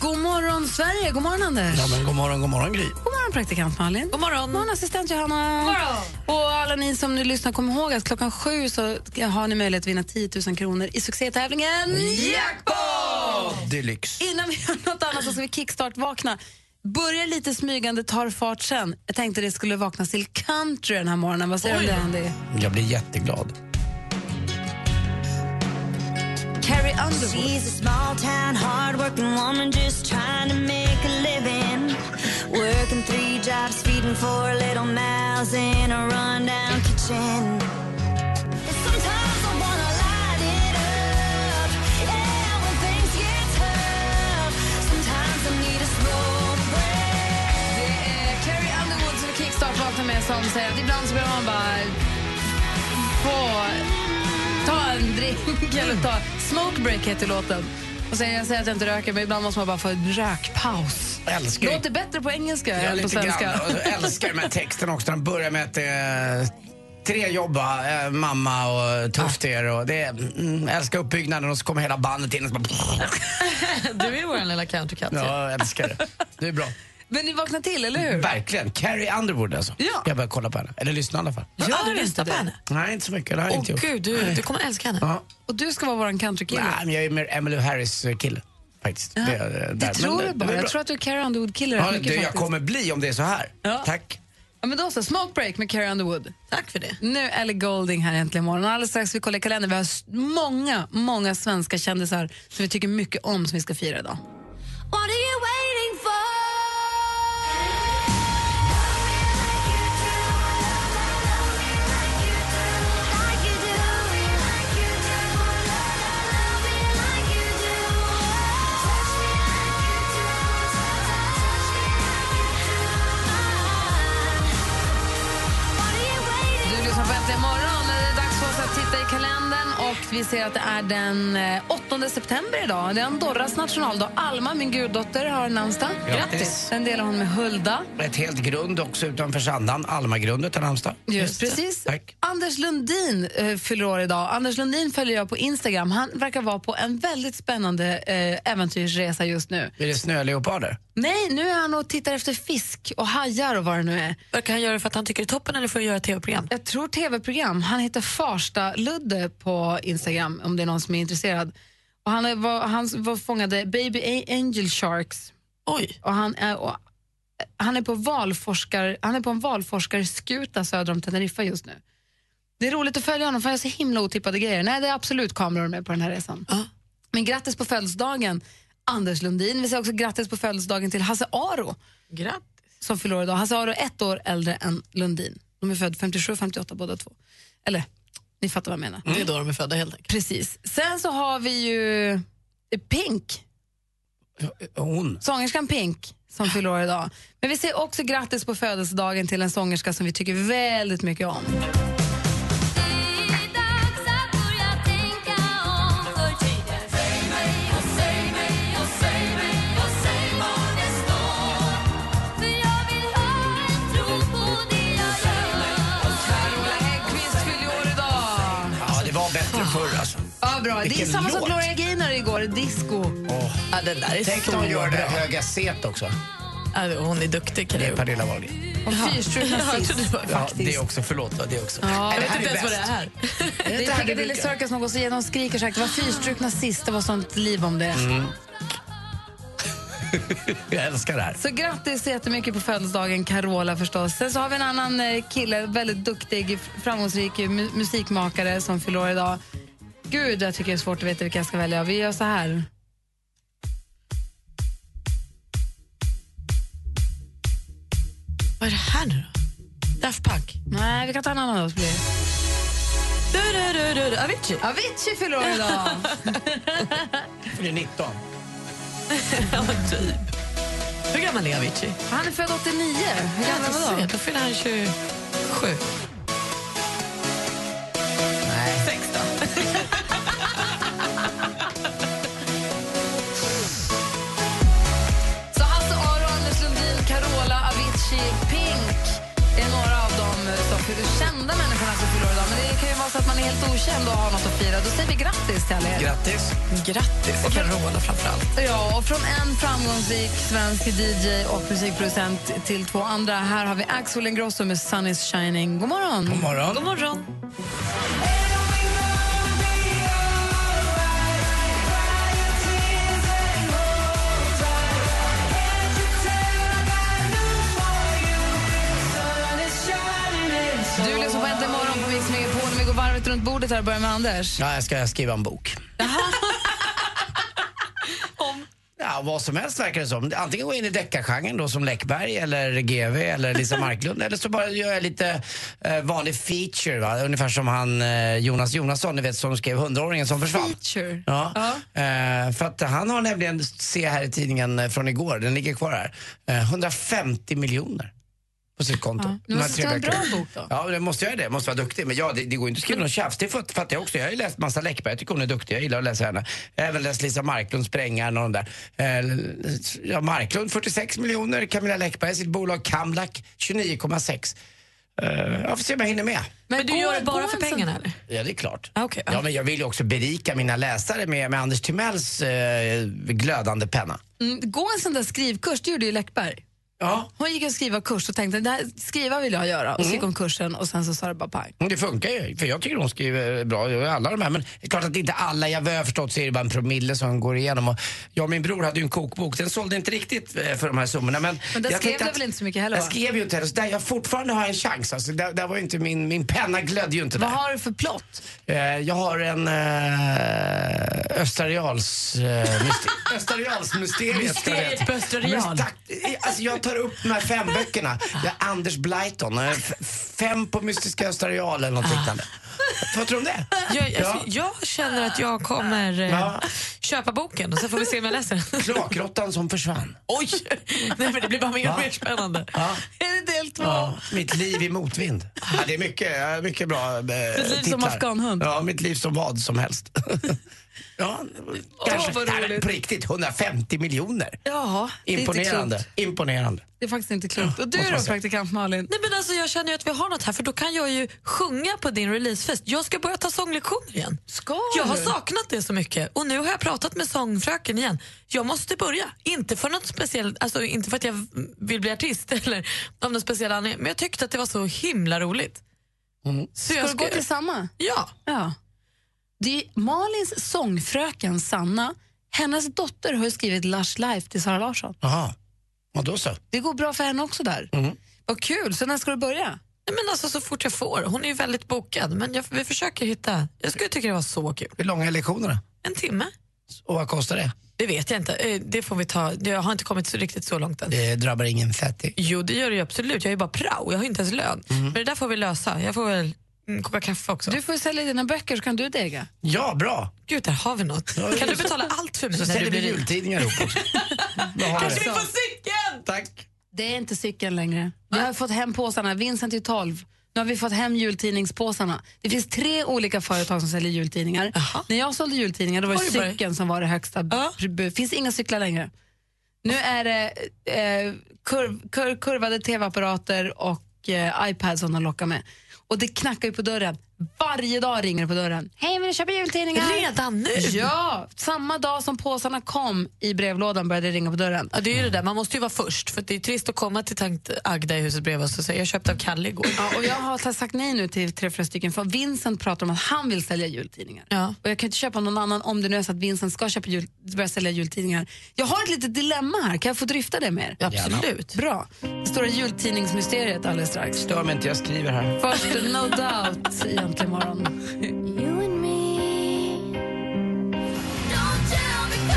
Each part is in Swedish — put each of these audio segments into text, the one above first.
God morgon, Sverige! God morgon, Anders! Ja, men god morgon, god morgon Gry. God morgon, praktikant Malin! God morgon, morgon assistent Johanna! Och alla ni som nu lyssnar, kom ihåg att klockan sju så har ni möjlighet att vinna 10 000 kronor i succétävlingen Jackpot! Deluxe. Innan vi gör något annat så ska vi kickstart-vakna. Börjar lite smygande, tar fart sen. Jag tänkte det skulle vaknas till country den här morgonen. Vad säger du om det, Andy? Jag blir jätteglad. Carrie Underwood. She's a small town, hardworking woman just trying to make a living. Working three jobs, feeding four little mouths in a rundown kitchen. Sometimes I wanna light it up, yeah, when things get tough. Sometimes I need a slow break. Det är Carrie Underwood som kickstart vaknar med som säger att ibland så behöver man bara få ta en drink eller ta smoke break heter låten. Och sen, jag säger att jag inte röker, men ibland måste man bara få en rökpaus. Älskar Låter bättre på engelska Ja, än på lite svenska. grann. Och så älskar jag med texten också. Den börjar med att eh, tre jobb, va? eh, mamma och tufft är det. och det. är- Mm, älskar uppbyggnaden och så kommer hela bandet in och så bara... Du är vår lilla countrykatt. Ja, jag älskar det. Det är bra. Men ni vaknar till, eller hur? Verkligen. Carrie Underwood alltså. Ja. Jag börjar kolla på henne. Eller lyssna i alla fall. Ja, du är lyssnar inte på det. henne. Nej, inte så mycket. Det har jag Åh inte gjort. gud, du, du kommer älska henne. Ja. Och du ska vara vår countrykille. Nej, men jag är mer Emily Harris eh, kille. Faktiskt. Det, är, eh, där. Det Men tror det- jag det bara. är Jag bra. tror att du är Carrie Underwood-kille Ja, rätt det mycket jag faktiskt. kommer bli om det är så här. Ja. Tack. Ja, men då så, smoke break med Carrie Underwood. Tack för det. Nu Ellie Golding här äntligen morgon. Alldeles strax vi kollar i kalendern. Vi har s- många, många svenska kändisar som vi tycker mycket om som vi ska fira idag. What are you waiting for? Du lyssnar på Äntligen morgon. Det är dags för oss att titta i kalendern. Och Vi ser att det är den eh, 8 september idag. Det är Andorras nationaldag. Alma, min guddotter, har namnsdag. Grattis. Den delar hon med Hulda. Ett helt grund också utanför Sandan, Almagrundet i Halmstad. Just precis. Tack. Anders Lundin eh, fyller år idag. Anders Lundin följer jag på Instagram. Han verkar vara på en väldigt spännande eh, äventyrsresa just nu. Är det snöleoparder? Nej, nu är han och tittar efter fisk och hajar och vad det nu är. Verkar han göra det för att han tycker det är toppen eller för att göra ett tv-program? jag tror tv-program. Han heter Farsta-Ludde på Instagram om det är någon som är intresserad. Och han, är- var, han var fångade Baby A- Angel Sharks Oj. och han är, och, han är, på, valforskar, han är på en valforskarskuta söder om Teneriffa just nu. Det är roligt att följa honom för han gör så himla otippade grejer. Nej, det är absolut kameror med på den här resan. Ja. Men grattis på födelsedagen Anders Lundin. Vi säger också grattis på födelsedagen till Hasse Aro Grattis. som fyller år idag. Hasse Aro är ett år äldre än Lundin. De är född 57 och 58 båda två. Eller, ni fattar vad jag menar. Mm. Det är då de är födda helt enkelt. Precis. Sen så har vi ju Pink, Hon. sångerskan Pink som fyller år idag. Men vi säger också grattis på födelsedagen till en sångerska som vi tycker väldigt mycket om. Carola Häggkvist fyller år idag. Ja, det var bättre förr alltså. Ja, bra. Det är Vilken samma som låt. Gloria Gaynor igår, disco. Ja, den där är Tänk så när hon gör det bra. höga set också. Ja, det- hon är duktig. Kan Det jag är jag Pernilla Wahlgren. Och fyrstruken sist. trodde det var Ja, faktiskt. det också. Förlåt, va, det också. Ja, Jag det vet här inte är ens vad det bäst. är. Det är Piccadilly Circus som går så igenom skriker så här, det var fyrstrukna sist, det var sånt liv om det. Jag älskar det här. Så grattis så jättemycket på födelsedagen Carola förstås. Sen så har vi en annan eh, kille, väldigt duktig, framgångsrik mu- musikmakare som fyller år idag. Gud, jag tycker det är svårt att veta vilka jag ska välja. Vi gör så här. Vad är det här nu då? Daft Punk? Nej, vi kan ta en annan då. så blir det. Du, du, du, du, du. Avicii. Avicii fyller år idag. Fyller 19. Ja, typ. Hur gammal är Avicii? Han är född 89. Hur gammal var han då? Då fyller han 27. Nej. Sex då? Så Hasse Aro, Anders Lundin, Carola, Avicii, Pink är några av de som fyller kända människorna som fyller år idag. Men det kan ju vara så att man är helt okänd och har något att fira. Då säger vi grattis till alla er. Grattis. Grattis. Och Carola framförallt. Ja, och från en framgångsrik svensk DJ och musikproducent till två andra. Här har vi Axel Ingrosso med Sun is shining. God morgon! God morgon. God morgon. Du lyssnar på Äntligen morgon på Mix Megapol. Vi går varvet runt bordet här och börjar med Anders. Ja, jag ska skriva en bok. Ja, vad som helst verkar det som. Antingen gå in i deckargenren då som Läckberg eller GV eller Lisa Marklund eller så bara gör jag lite eh, vanlig feature va? ungefär som han eh, Jonas Jonasson ni vet som skrev 100-åringen som försvann. Feature? Ja. Eh, för att han har nämligen, se här i tidningen eh, från igår, den ligger kvar här, eh, 150 miljoner på sitt konto. Ja. De Men här måste tre det vara en veckorna. bra bok då? Ja, det måste jag göra det. Måste vara duktig. Men ja, det, det går inte att skriva någon tjafs. Det fatt- fattar jag också. Jag har ju läst massa Läckberg. Jag tycker hon är duktig. Jag gillar att läsa henne. Även läst Lisa Marklund, Sprängaren och de där. Eh, ja, Marklund 46 miljoner. Camilla Läckberg, sitt bolag Kamlak 29,6. Eh, jag får se om jag hinner med. Men, du gör går- det bara går för en sån- pengarna eller? Ja, det är klart. Ah, okej. ja, men jag vill ju också berika mina läsare med, med Anders Timells eh, glödande penna. Mm, gå en sån där skrivkurs, det gjorde ju Läckberg. Ja. Hon gick en skrivarkurs och tänkte det här skriva vill jag göra. Och Mm. så gick hon kursen och sen så sa det bara pang. Mm, Det funkar ju, för jag tycker hon skriver eh, bra, jag gör alla de här. Men det är klart att inte alla, jag vad jag har förstått så är det bara en promille som går igenom. Och jag och min bror hade ju en kokbok, den sålde inte riktigt eh, för de här summorna. Men, Men där jag skrev tänkte du att- väl inte så mycket heller, Jag va? skrev ju inte heller, så där jag fortfarande har en chans. Alltså, där, där var ju inte min, min penna glödde ju inte Vad där. har du för plott? Eh, jag har en eh, Östra Reals, eh, myster- Östra Reals-mysteriet. Mysteriet på Östra Real. Men stack- eh, Alltså jag tar upp de här fem böckerna. Jag är Anders Blyton. eh, f- Fem på Mystiska Östra Real eller något liknande. Vad tror du om det? Jag, Ja. alltså, jag känner att jag kommer eh, Ja. köpa boken och så får vi se om jag läser den. Kloakrottan som försvann. Oj! Nej, men det blir bara mer och mer spännande. Ja. Är det del två? Ja, mitt liv i motvind. Ja, det är mycket, eh, mycket bra eh, Mitt liv som afghanhund. Ja, mitt liv som vad som helst. ja, kanske. vad Nej, men roligt. på riktigt, 150 miljoner. Jaha, det är inte Imponerande. klokt. Imponerande. Det är faktiskt inte klokt. Och du måste då man säga. praktikant Malin? Nej, men alltså, jag känner ju att vi har något här för då kan jag ju sjunga på din releasefest. Jag ska börja ta sånglektioner igen. Ska jag har du? saknat det så mycket och nu har jag pratat med sångfröken igen. Jag måste börja. Inte för något speciellt, alltså inte för att jag vill bli artist eller av någon speciell anledning, men jag tyckte att det var så himla roligt. Så Mm. Ska jag du gå till samma? Ja. Ja. Det är Malins sångfröken Sanna, hennes dotter har ju skrivit Lush Life till Sara Larsson. Jaha, ja, då så. Det går bra för henne också där. Vad kul, så när ska du börja? Nej, Men alltså så fort jag får. Hon är ju väldigt bokad, men jag, vi försöker hitta... Jag skulle tycka det var så kul. Hur långa är lektionerna? En timme? Och vad kostar det? Det vet jag inte. Eh, Det får vi ta. Jag har inte kommit så riktigt så långt än. Det drabbar ingen fattig. Jo, det gör det ju absolut. Jag är ju bara prao. Jag har inte ens lön. Men det där får vi lösa. Jag får väl en kopp kaffe också. Du får ju sälja dina böcker så kan du dega. Ja, bra. Gud, där har vi något. Kan du betala allt för mig Så när du säljer blir vi rik? jultidningar ihop också. Vad har Kanske vi du? får cykeln! Tack. Det är inte cykeln längre. Vi har fått hem påsarna, Vincent är 12. Nu har vi fått hem jultidningspåsarna. Det finns tre olika företag som säljer jultidningar. Jaha. När jag sålde jultidningar då var det Oj, bara- cykeln som var det högsta. Ja. Det finns inga cyklar längre. Nu är det eh, kurv, kur, kurvade tv-apparater och eh, iPads som de lockar med. Och det knackar ju på dörren. Varje dag ringer det på dörren. Hej, vill du köpa jultidningar? Redan nu? Ja, samma dag som påsarna kom i brevlådan började det ringa på dörren. Ja, det är ju det där. Man måste ju vara först. För det är trist att komma till tant Agda i huset bredvid oss och säga jag köpte av Kalle igår. Ja, och jag har ta- sagt nej nu till tre, fyra stycken för Vincent pratar om att han vill sälja jultidningar. Ja. Och jag kan inte köpa någon annan om det nu är så att Vincent ska köpa jul, börja sälja jultidningar. Jag har ett litet dilemma här, kan jag få drifta det med er? Absolut. Bra. Det stora jultidningsmysteriet alldeles strax. Stör mig inte, jag skriver här. Först No Doubt i Äntligen morgon. You and me. Don't tell me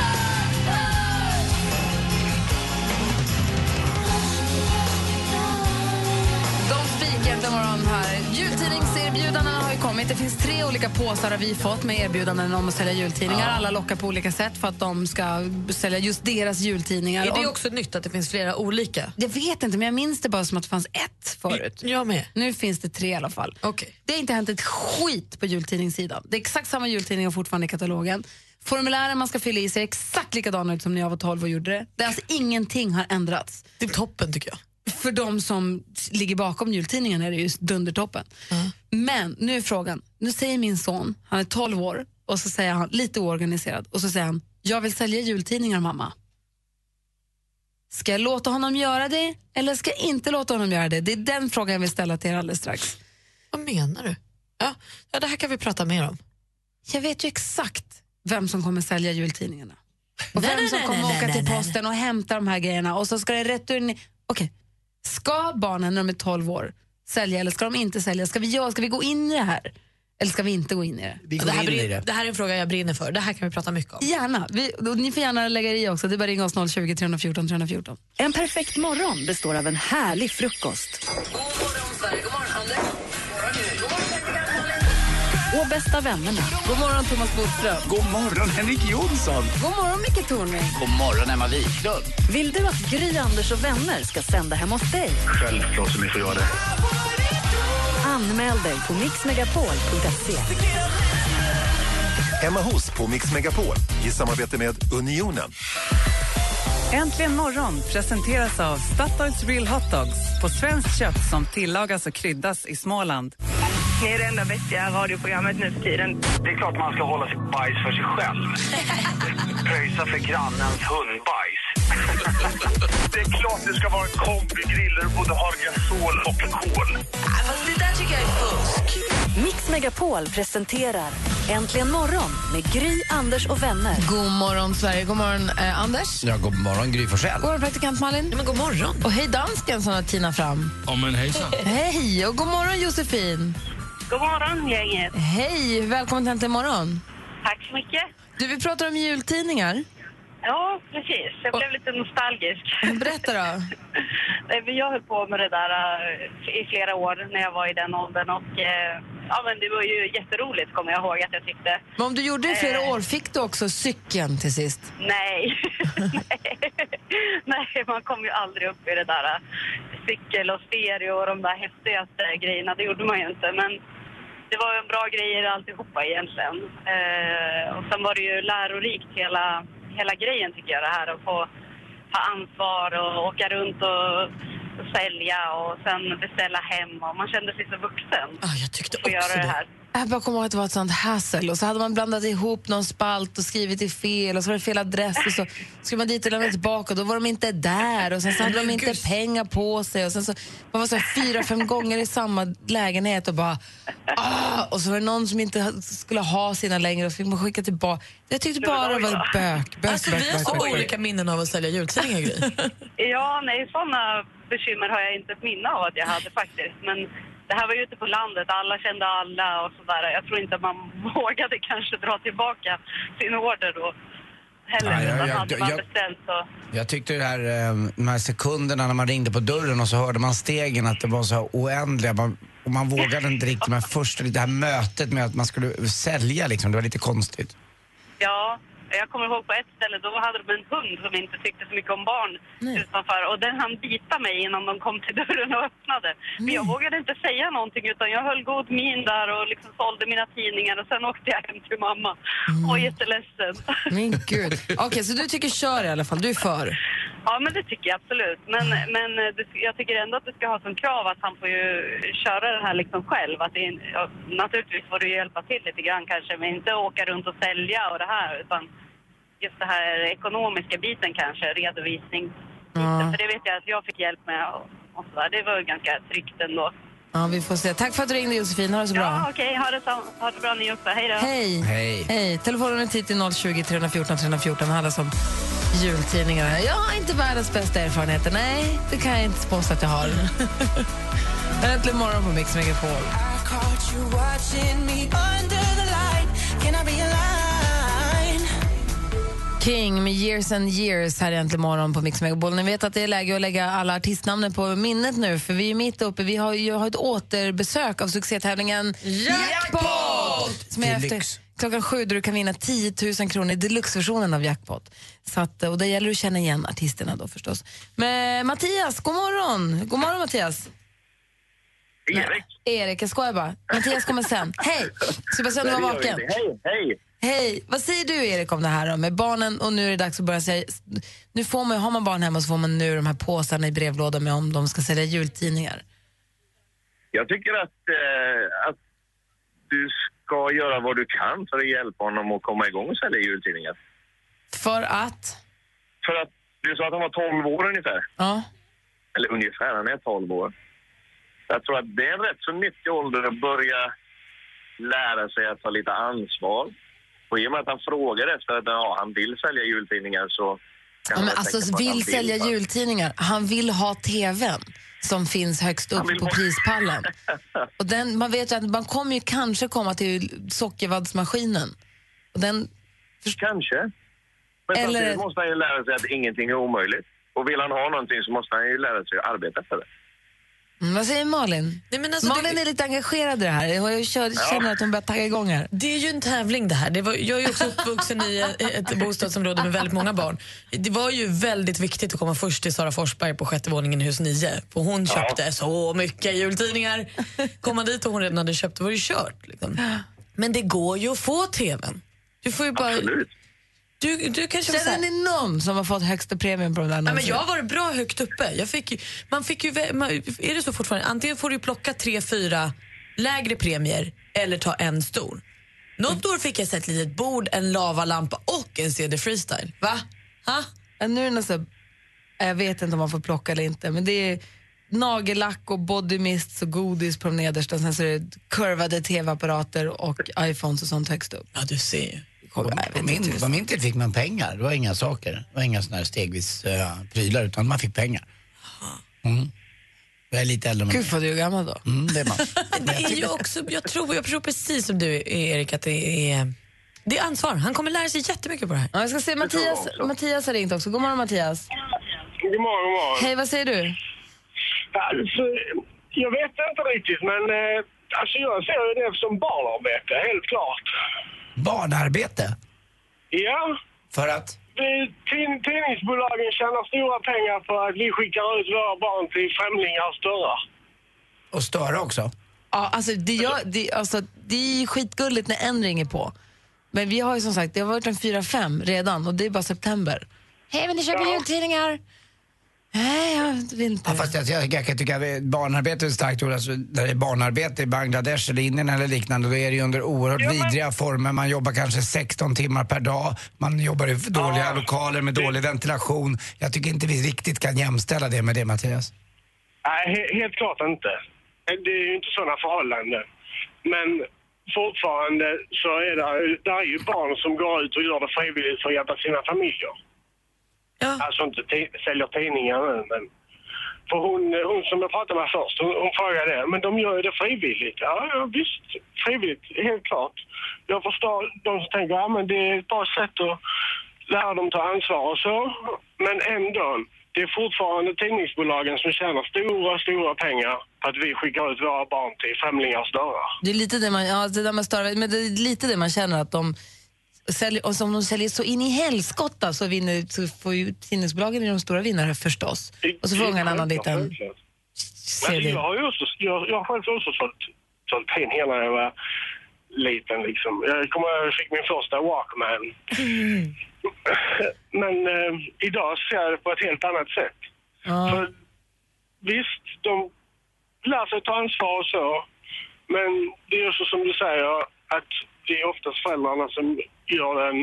De spikar Äntligen morgon här. Jultidningserbjudandena har ju kommit. programmet. Det finns tre olika påsar har vi fått med erbjudanden om att sälja jultidningar. Alla lockar på olika sätt för att de ska sälja just deras jultidningar. Är det Och- också nytt att det finns flera olika? Jag vet inte, men jag minns det bara som att det fanns ett förut. Jag med. Nu finns det tre i alla fall. Okej. Det har inte hänt ett skit på jultidningssidan. Det är exakt samma jultidningar fortfarande i katalogen. Formulären man ska fylla i ser exakt likadana ut som när jag var 12 och gjorde det. det är alltså ingenting har ändrats. Det är toppen tycker jag. För de som ligger bakom jultidningen är det just dundertoppen. Men nu är frågan, nu säger min son, han är 12 år och så säger han, lite oorganiserad, och så säger han, jag vill sälja jultidningar mamma. Ska jag låta honom göra det eller ska jag inte låta honom göra det? Det är den frågan jag vill ställa till er alldeles strax. Vad menar du? Ja, ja, det här kan vi prata mer om. Jag vet ju exakt vem som kommer sälja jultidningarna. Och Nej, vem nej, som nej, kommer nej, åka nej, till nej, posten och hämta de här grejerna och så ska det return... Okej, ska barnen när de är 12 år sälja eller ska de inte sälja? Ska vi, göra, ska vi gå in i det här? Eller ska vi inte gå in i det? Vi Ja, går här in i brin- Alltså, det. det här är en fråga jag brinner för. Det här kan vi prata mycket om. Gärna. Vi, och ni får gärna lägga er i också. Det är bara att ringa oss 020 314 314. En perfekt morgon består av en härlig frukost. Och bästa vännerna. God morgon Thomas Bodström. God morgon Henrik Jonsson! God morgon Micke Tornving. God morgon, Emma Wiklund. Vill du att Gry, Anders och vänner ska sända hem hos dig? Självklart som ni får göra det. Anmäl dig på mixmegapol.se. Emma hos på Mix Megapol i samarbete med Unionen. Äntligen morgon presenteras av Statoils Real Hot Dogs på svenskt kött som tillagas och kryddas i Småland. Ni är det enda vettiga radioprogrammet nu för tiden. Det är klart man ska hålla sitt bajs för sig själv. Pröjsa för grannens hundbajs. det är klart det ska vara en kombigrill där du både har gasol och kol. Mix Megapol presenterar Äntligen morgon med Gry, Anders och vänner. God morgon Sverige. God morgon eh, Anders. Ja, god morgon Gry Forssell. God morgon praktikant Malin. Men god morgon. Och hej dansken som har tinat fram. Ja, men hejsan. Hej och god morgon Josefin. God morgon, gänget. Hej, välkommen till Äntligen morgon. Tack så mycket. Du, vi pratar om jultidningar. Ja, precis. Jag blev lite nostalgisk. Berätta då. Nej, men Jag höll på med det där eh, i flera år när jag var i den åldern. Och, eh, ja, men det var ju jätteroligt, kommer jag ihåg att jag tyckte. Men om du gjorde det i flera Eh. år, fick du också cykeln till sist? Nej. Nej, man kom ju aldrig upp i det där eh, cykel och stereo och de där häftigaste grejerna. Det gjorde man ju inte. Men det var ju en bra grejer alltihopa egentligen. Eh, och sen var det ju lärorikt hela, hela grejen tycker jag det här att få ha ansvar och åka runt och, och sälja och sen beställa hem och man kände sig så vuxen. Ah, jag tyckte Få göra också det det. här. Jag bara kommer ihåg att det var ett sånt hassel och så hade man blandat ihop någon spalt och skrivit i fel och så var det fel adress och så skulle man dit och lämna tillbaka och då var de inte där och sen så hade de inte pengar på sig och sen så man var så här fyra, fem gånger i samma lägenhet och bara ah! och så var det någon som inte ha- skulle ha sina längre och så fick man skicka tillbaka. Jag tyckte Nej, men bara det oj var då. bök, bök, Alltså, bök, vi har bök, så bök. olika minnen av att sälja jultidningar, Gry. Ja, nej, sådana bekymmer har jag inte ett minne av att jag hade faktiskt. Men det här var ju ute på landet, alla kände alla och sådär. Jag tror inte att man vågade kanske dra tillbaka sin order då. Heller, Nej, jag- utan jag- hade man jag- beställt så... Jag tyckte det här, eh, de här sekunderna när man ringde på dörren och så hörde man stegen att det var så här oändliga. Man, och man vågade inte riktigt de här första, det här mötet med att man skulle sälja liksom. Det var lite konstigt. Ja, jag kommer ihåg på ett ställe, då hade de en hund som inte tyckte så mycket om barn utanför. Och den hann bita mig innan de kom till dörren och öppnade. Men jag vågade inte säga någonting utan jag höll god min där och liksom sålde mina tidningar och sen åkte jag hem till mamma. Mm. Och var jätteledsen. Men gud. Okej, så du tycker kör i alla fall, du är för. Ja, men det tycker jag absolut. Men, men eh, det, jag tycker ändå att du ska ha som krav att han får ju köra det här liksom själv. Att det, är- ja, naturligtvis får du ju hjälpa till lite grann kanske, men inte åka runt och sälja och det här, utan just det här ekonomiska biten kanske, redovisning. För det vet jag att jag fick hjälp med och, och så där. Det var ju ganska tryggt ändå. Ja, vi får se. Tack för att du ringde Josefin, ha det så bra. Ja, okej. Ha, det så- ha det bra ni också. Hej då. Hej. Hej. Hej. Telefonnumret hit till 020 314 314. Det handlar om jultidningar. Jag har inte världens bästa erfarenheter. Nej, det kan jag inte påstå att jag har. Äntligen morgon på Mix Megapol. King med Years and Years här äntligen morgon på Mix Megapol. Ni vet att det är läge att lägga alla artistnamnen på minnet nu för vi är mitt uppe. Vi har ju har ett återbesök av succétävlingen Jackpot! Som är efter Deluxe. klockan sju där du kan vinna 10 000 kronor i deluxe-versionen av Jackpot. Så att, och det gäller det att känna igen artisterna då förstås. Men Mattias, god morgon! God morgon Mattias! Erik. Erik, jag skojar bara. Mattias kommer sen. Hej! Ska bara se om du var Nej, det gör vaken. ingenting. Hej, Hej! Vad säger du Erik om det här då, med barnen och nu är det dags att börja säga, nu får man, ju- har man barn hemma så får man nu de här påsarna i brevlådan med om de ska sälja jultidningar. Jag tycker att, eh, att du ska göra vad du kan för att hjälpa honom att komma igång och sälja jultidningar. För att? För att du sa att han var 12 år ungefär. Ja. Eller ungefär, han är 12 år. Jag tror att det är en rätt så nyttig ålder att börja lära sig att ta lite ansvar. Och i och med att han frågar efter att ja, han vill sälja jultidningar så... kan Ja, man men väl tänka alltså på att han vill sälja va? jultidningar. Han vill ha TVn som finns högst upp på prispallen. Och den, man vet ju att man kommer ju kanske komma till sockervaddsmaskinen. Och den, Kanske. Men Eller- samtidigt måste han ju lära sig att ingenting är omöjligt. Och vill han ha någonting så måste han ju lära sig att arbeta för det. mm, vad säger Malin? Nej, men alltså, Malin är lite engagerad i det här. Och Jag kör, Ja. känner att hon börjar tagga igång här. Det är ju en tävling det här. Det var, jag är ju också uppvuxen i ett bostadsområde med väldigt många barn. Det var ju väldigt viktigt att komma först till Sara Forsberg på sjätte våningen i hus 9. För hon Ja. köpte Äh, så mycket jultidningar. Komma dit och hon redan hade köpt, då var det kört. Liksom. Men det går ju att få TVn. Du får ju bara... Du, du kanske får Känner så här- ni någon som har fått högsta premien på de där Ja, men jag annonserna? har varit bra högt uppe. Jag fick ju, man fick ju, vä- man, är det så fortfarande? Antingen får du ju plocka tre, fyra lägre premier eller ta en stor. Något år fick jag så här ett litet bord, en lavalampa och en CD freestyle. Va? Ha? Ja, nu är det något så, jag vet inte om man får plocka eller inte, men det är nagellack och body mists och godis på de nedersta. Sen så är det kurvade tv-apparater och iPhones och sånt högst upp. Ja, du ser ju. På, på, min, på min tid fick man pengar. Det var inga saker. Det var inga såna här stegvis eh, prylar, utan man fick pengar. Mm. Jag är lite äldre än Gud vad du är gammal då. Mm, det är man. Det är ju också, jag, tror, jag tror precis som du Erik att det är, det är ansvar. Han kommer lära sig jättemycket på det här. Ja, jag ska se, Mattias, Mattias har ringt också. God morgon Mattias. God morgon, god morgon. Hej, vad säger du? Alltså, jag vet inte riktigt, men eh, alltså jag ser ju det som barnarbete, helt klart. Barnarbete? Ja, För att? det- tid- tidningsbolagen tjänar stora pengar på att vi skickar ut våra barn till främlingars dörrar. Och störa också? Ja, alltså det, gör, det, alltså det är ju skitgulligt när en ringer på. Men vi har ju som sagt, det har varit en fyra fem redan och det är bara september. Hej, vill ni köpa jultidningar? Nej, jag vill inte. Ja, fast jag, jag, jag kan tycka att barnarbete är ett starkt ord. Alltså, när det är barnarbete i Bangladesh eller Indien eller liknande, då är det ju under oerhört vidriga former. Man jobbar kanske 16 timmar per dag. Man jobbar i dåliga lokaler med dålig ventilation. Jag tycker inte vi riktigt kan jämställa det med det, Mattias. Nej, he- helt klart inte. Eh, Det är ju inte sådana förhållanden. Men fortfarande så är det, ju- det är ju barn som går ut och gör det frivilligt för att hjälpa sina familjer. Alltså inte ti- säljer tidningar nu, men... För hon, hon som jag pratade med först, hon, hon frågade det. Men de gör ju det frivilligt. Ja, ja, visst. Frivilligt, helt klart. Jag förstår de som tänker ja, men det är ett bra sätt att lära dem ta ansvar och så. Men ändå, det är fortfarande tidningsbolagen som tjänar stora, stora pengar på att vi skickar ut våra barn till främlingars dörrar. Det är lite det man, ja, det där man stör, men det är lite det man känner att de säljer, och som de säljer så in i helskotta så, vinner, så får ju tidningsbolagen är de stora vinnare förstås. Och så får en annan liten... Men det. jag har ju också, jag, jag har själv också sålt, sålt in hela när jag var liten liksom. Jag kommer ihåg jag fick min första Walkman. Men eh, idag ser jag det på ett helt annat sätt. För, visst, de lär sig ta ansvar och så. Men det är också som du säger att det är oftast föräldrarna som gör den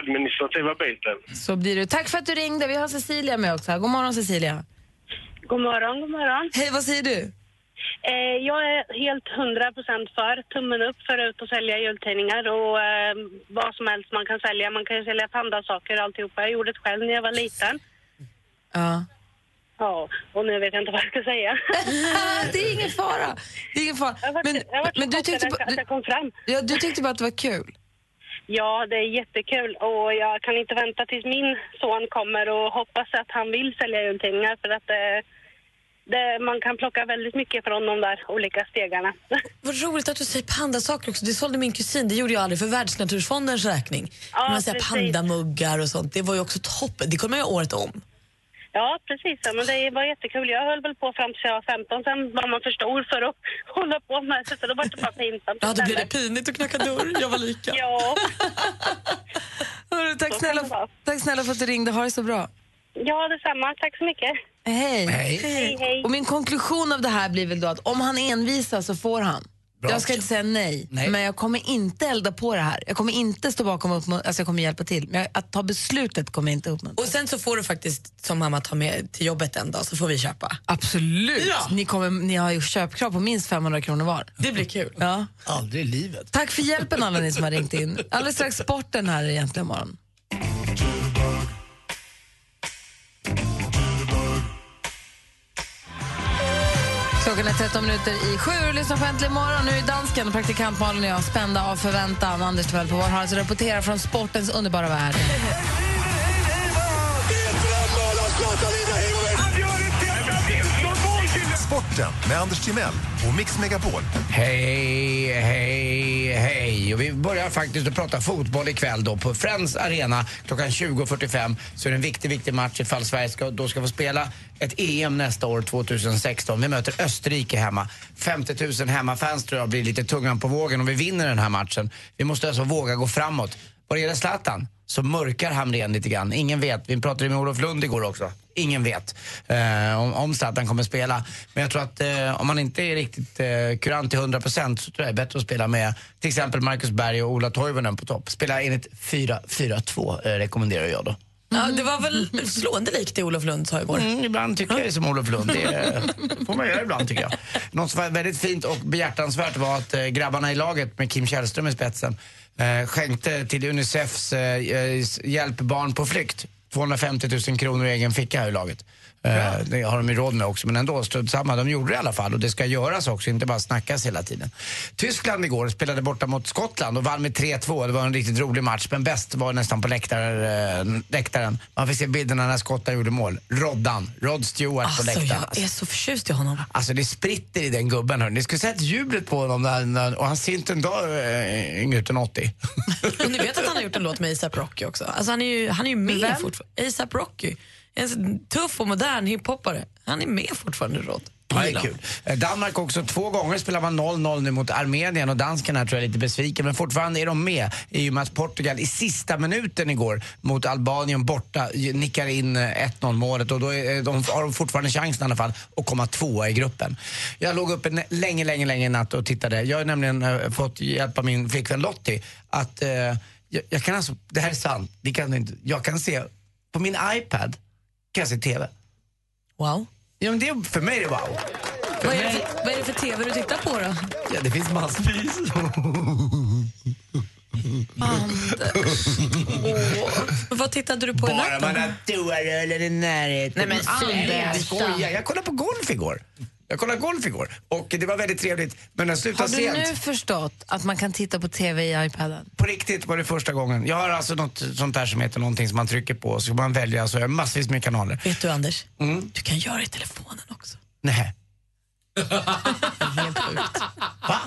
administrativa biten. Så blir det. Tack för att du ringde. Vi har Cecilia med också. här. God morgon Cecilia. God morgon, god morgon. Hej, vad säger du? Eh, jag är helt 100% för tummen upp för ut och sälja jultidningar och eh, vad som helst man kan sälja. Man kan ju sälja pandasaker och alltihopa. Jag gjorde det själv när jag var liten. Ja. Ja, och nu vet jag inte vad jag ska säga. det är ingen fara. Det är ingen fara. Men, men du, tyckte bara, du, ja, du tyckte bara att det var kul. Ja, det är jättekul och jag kan inte vänta tills min son kommer och hoppas att han vill sälja jultidningar för att eh, det, man kan plocka väldigt mycket från de där olika stegarna. Vad roligt att du säger pandasaker också. Det sålde min kusin, det gjorde jag aldrig för Världsnaturfondens räkning. Ja, man säger precis. pandamuggar och sånt, det var ju också toppen. Det kunde man göra året om. Ja, precis. Ja, men det var jättekul. Jag höll väl på fram till jag var 15. Sen var man för stor för att hålla på med det, så då var det bara pinsamt. Ja, då blev det pinigt att knacka dörr. Jag var lika. Ja. Hörru, tack, snälla, tack snälla för att du ringde. Ha det så bra. Ja, detsamma. Tack så mycket. Hej. Hej. Hej, hej. Och min konklusion av det här blir väl då att om han envisas så får han. Bra. Jag ska inte säga nej, Nej. men jag kommer inte elda på det här. Jag kommer inte stå bakom och uppmuntra, alltså jag kommer hjälpa till. Men jag, att ta beslutet kommer jag inte uppmuntra. Och sen så får du faktiskt, som mamma, ta med till jobbet en dag så får vi köpa. Absolut! Ja. Ni, kommer, ni har ju köpkrav på minst 500 kronor var. Det blir kul. Ja. Aldrig i livet. Tack för hjälpen alla ni som har ringt in. Alldeles strax sporten här i Äntligen morgon. Klockan är 13 minuter i sju och lyssnar på Äntligen morgon. Nu är dansken, praktikant Malin och jag spända av förväntan. Anders Tvell på vår hals rapporterar från sportens underbara värld. Sporten med Anders Timell och Mix Megapol. Hej, hej, hej. Och vi börjar faktiskt att prata fotboll ikväll då på Friends Arena klockan 20.45. Så är det en viktig, viktig match ifall Sverige ska, då ska få spela ett EM nästa år, 2016. Vi möter Österrike hemma. 50 000 hemmafans tror jag blir lite tungan på vågen om vi vinner den här matchen. Vi måste alltså våga gå framåt. Vad gäller Zlatan så mörkar Hamrén lite grann. Ingen vet. Vi pratade med Olof Lund igår också. Ingen vet eh, om, om Zlatan kommer spela. Men jag tror att eh, om man inte är riktigt eh, kurant till 100% så tror jag det är bättre att spela med till exempel Marcus Berg och Ola Toivonen på topp. Spela enligt 4-4-2 eh, rekommenderar jag då. Ja, det var väl slående likt det Olof Lund sa igår. Mm, ibland tycker jag det är som Olof Lund. Det eh, får man göra ibland tycker jag. Något som var väldigt fint och behjärtansvärt var att eh, grabbarna i laget med Kim Källström i spetsen eh, skänkte till Unicefs eh, eh, hjälp barn på flykt 250 000 kronor i egen ficka här i laget. Eh, det har de ju råd med också, men ändå, strunt samma. De gjorde det i alla fall och det ska göras också, inte bara snackas hela tiden. Tyskland igår spelade borta mot Skottland och vann med 3-2. Det var en riktigt rolig match, men bäst var nästan på läktar, eh, läktaren. Man fick se bilderna när Skottland gjorde mål. Roddan, Rod Stewart på Alltså, läktaren. jag är så förtjust i honom. Alltså det spritter i den gubben hörni. Ni skulle sett jublet på honom när, när, och han ser inte en dag eh, yngre ut än 80. Och ni vet att han har gjort en låt med ASAP Rocky också. Alltså han är ju, han är ju med fortfarande. ASAP Rocky, en så tuff och modern hiphoppare. Han är med fortfarande i råd. Ja, det är kul. Eh, Danmark också, två gånger spelar man 0-0 nu mot Armenien och dansken här tror jag är lite besviken men fortfarande är de med i och med att Portugal i sista minuten igår mot Albanien borta ju- nickar in eh, 1-0 målet och då är eh, de, har de fortfarande chansen i alla fall att komma tvåa i gruppen. Jag låg uppe nä- länge, länge, länge i natt och tittade. Jag har nämligen eh, fått hjälpa min flickvän Lottie att eh, jag, jag kan alltså, det här är sant, det kan, inte- jag kan se, på min iPad kan jag se TV. Wow. Ja, men det, för mig är det wow. Vad är, det för, vad är det för TV du tittar på då? Ja, det finns massvis. Anders. Åh. Vad tittade du på i Bara natten? man har toarullen i Nej, närheten. men sluta. jag skojar. Jag kollade på golf igår. Jag kollade golf igår och det var väldigt trevligt. Men den Har slutade du sent. nu förstått att man kan titta på TV i iPaden? På riktigt var det första gången. Jag har alltså något sånt där som heter någonting som man trycker på och så kan man välja. Så jag har massvis med kanaler. Vet du Anders? Mm. Du kan göra det i telefonen också. Nej. Helt sjukt. Va?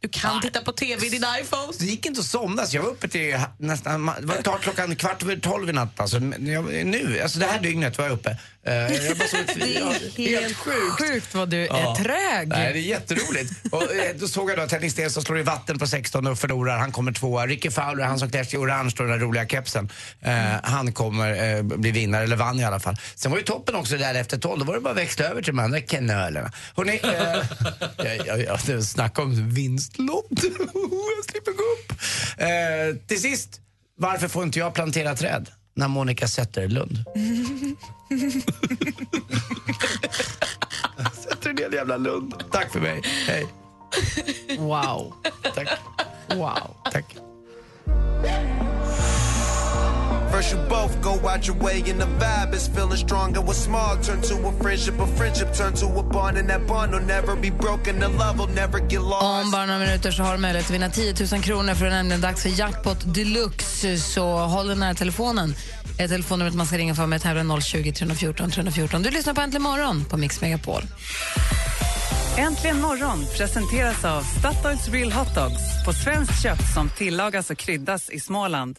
Du kan titta på TV i din iPhone. Det gick inte att somna så jag var uppe till nästan, det var klart klockan kvart över tolv i natt alltså. Men jag, nu, alltså det här dygnet var jag uppe. Eh, jag bara sov ett- helt sjukt. vad du Ja. är trög. Nej, det är jätteroligt. Och, eh, då såg jag då Tennis Sten som slår i vatten på 16 och förlorar. Han kommer tvåa. Ricky Fowler, han som klätt i orange och den där roliga kepsen. Eh, han kommer eh, bli vinnare, eller vann i alla fall. Sen var ju toppen också där efter 12. Då var det bara att växla över till de andra knölarna. Hörrni, eh, jag, jag, jag, det- snacka om vinstlott. jag slipper gå upp. Eh, till sist, varför får inte jag plantera träd? När Monica Zetterlund. Zetterlund jävla Lund. Tack för mig. Hej. Wow. Tack. Wow. Tack. first you both go out your way and the vibe is feeling strong and what's small turn to a friendship a friendship turn to a bond and that bond will never be broken the love will never get lost Om bara några minuter så har du möjlighet att vinna 10 000 kronor för det är nämligen dags för jackpot deluxe. Så håll den nära telefonen. Ett telefonnumret man ska ringa för med tävlar 020 314 314. Du lyssnar på Äntligen morgon på Mix Megapol. Äntligen morgon presenteras av Statoils Real Hot Dogs på svenskt kött som tillagas och kryddas i Småland.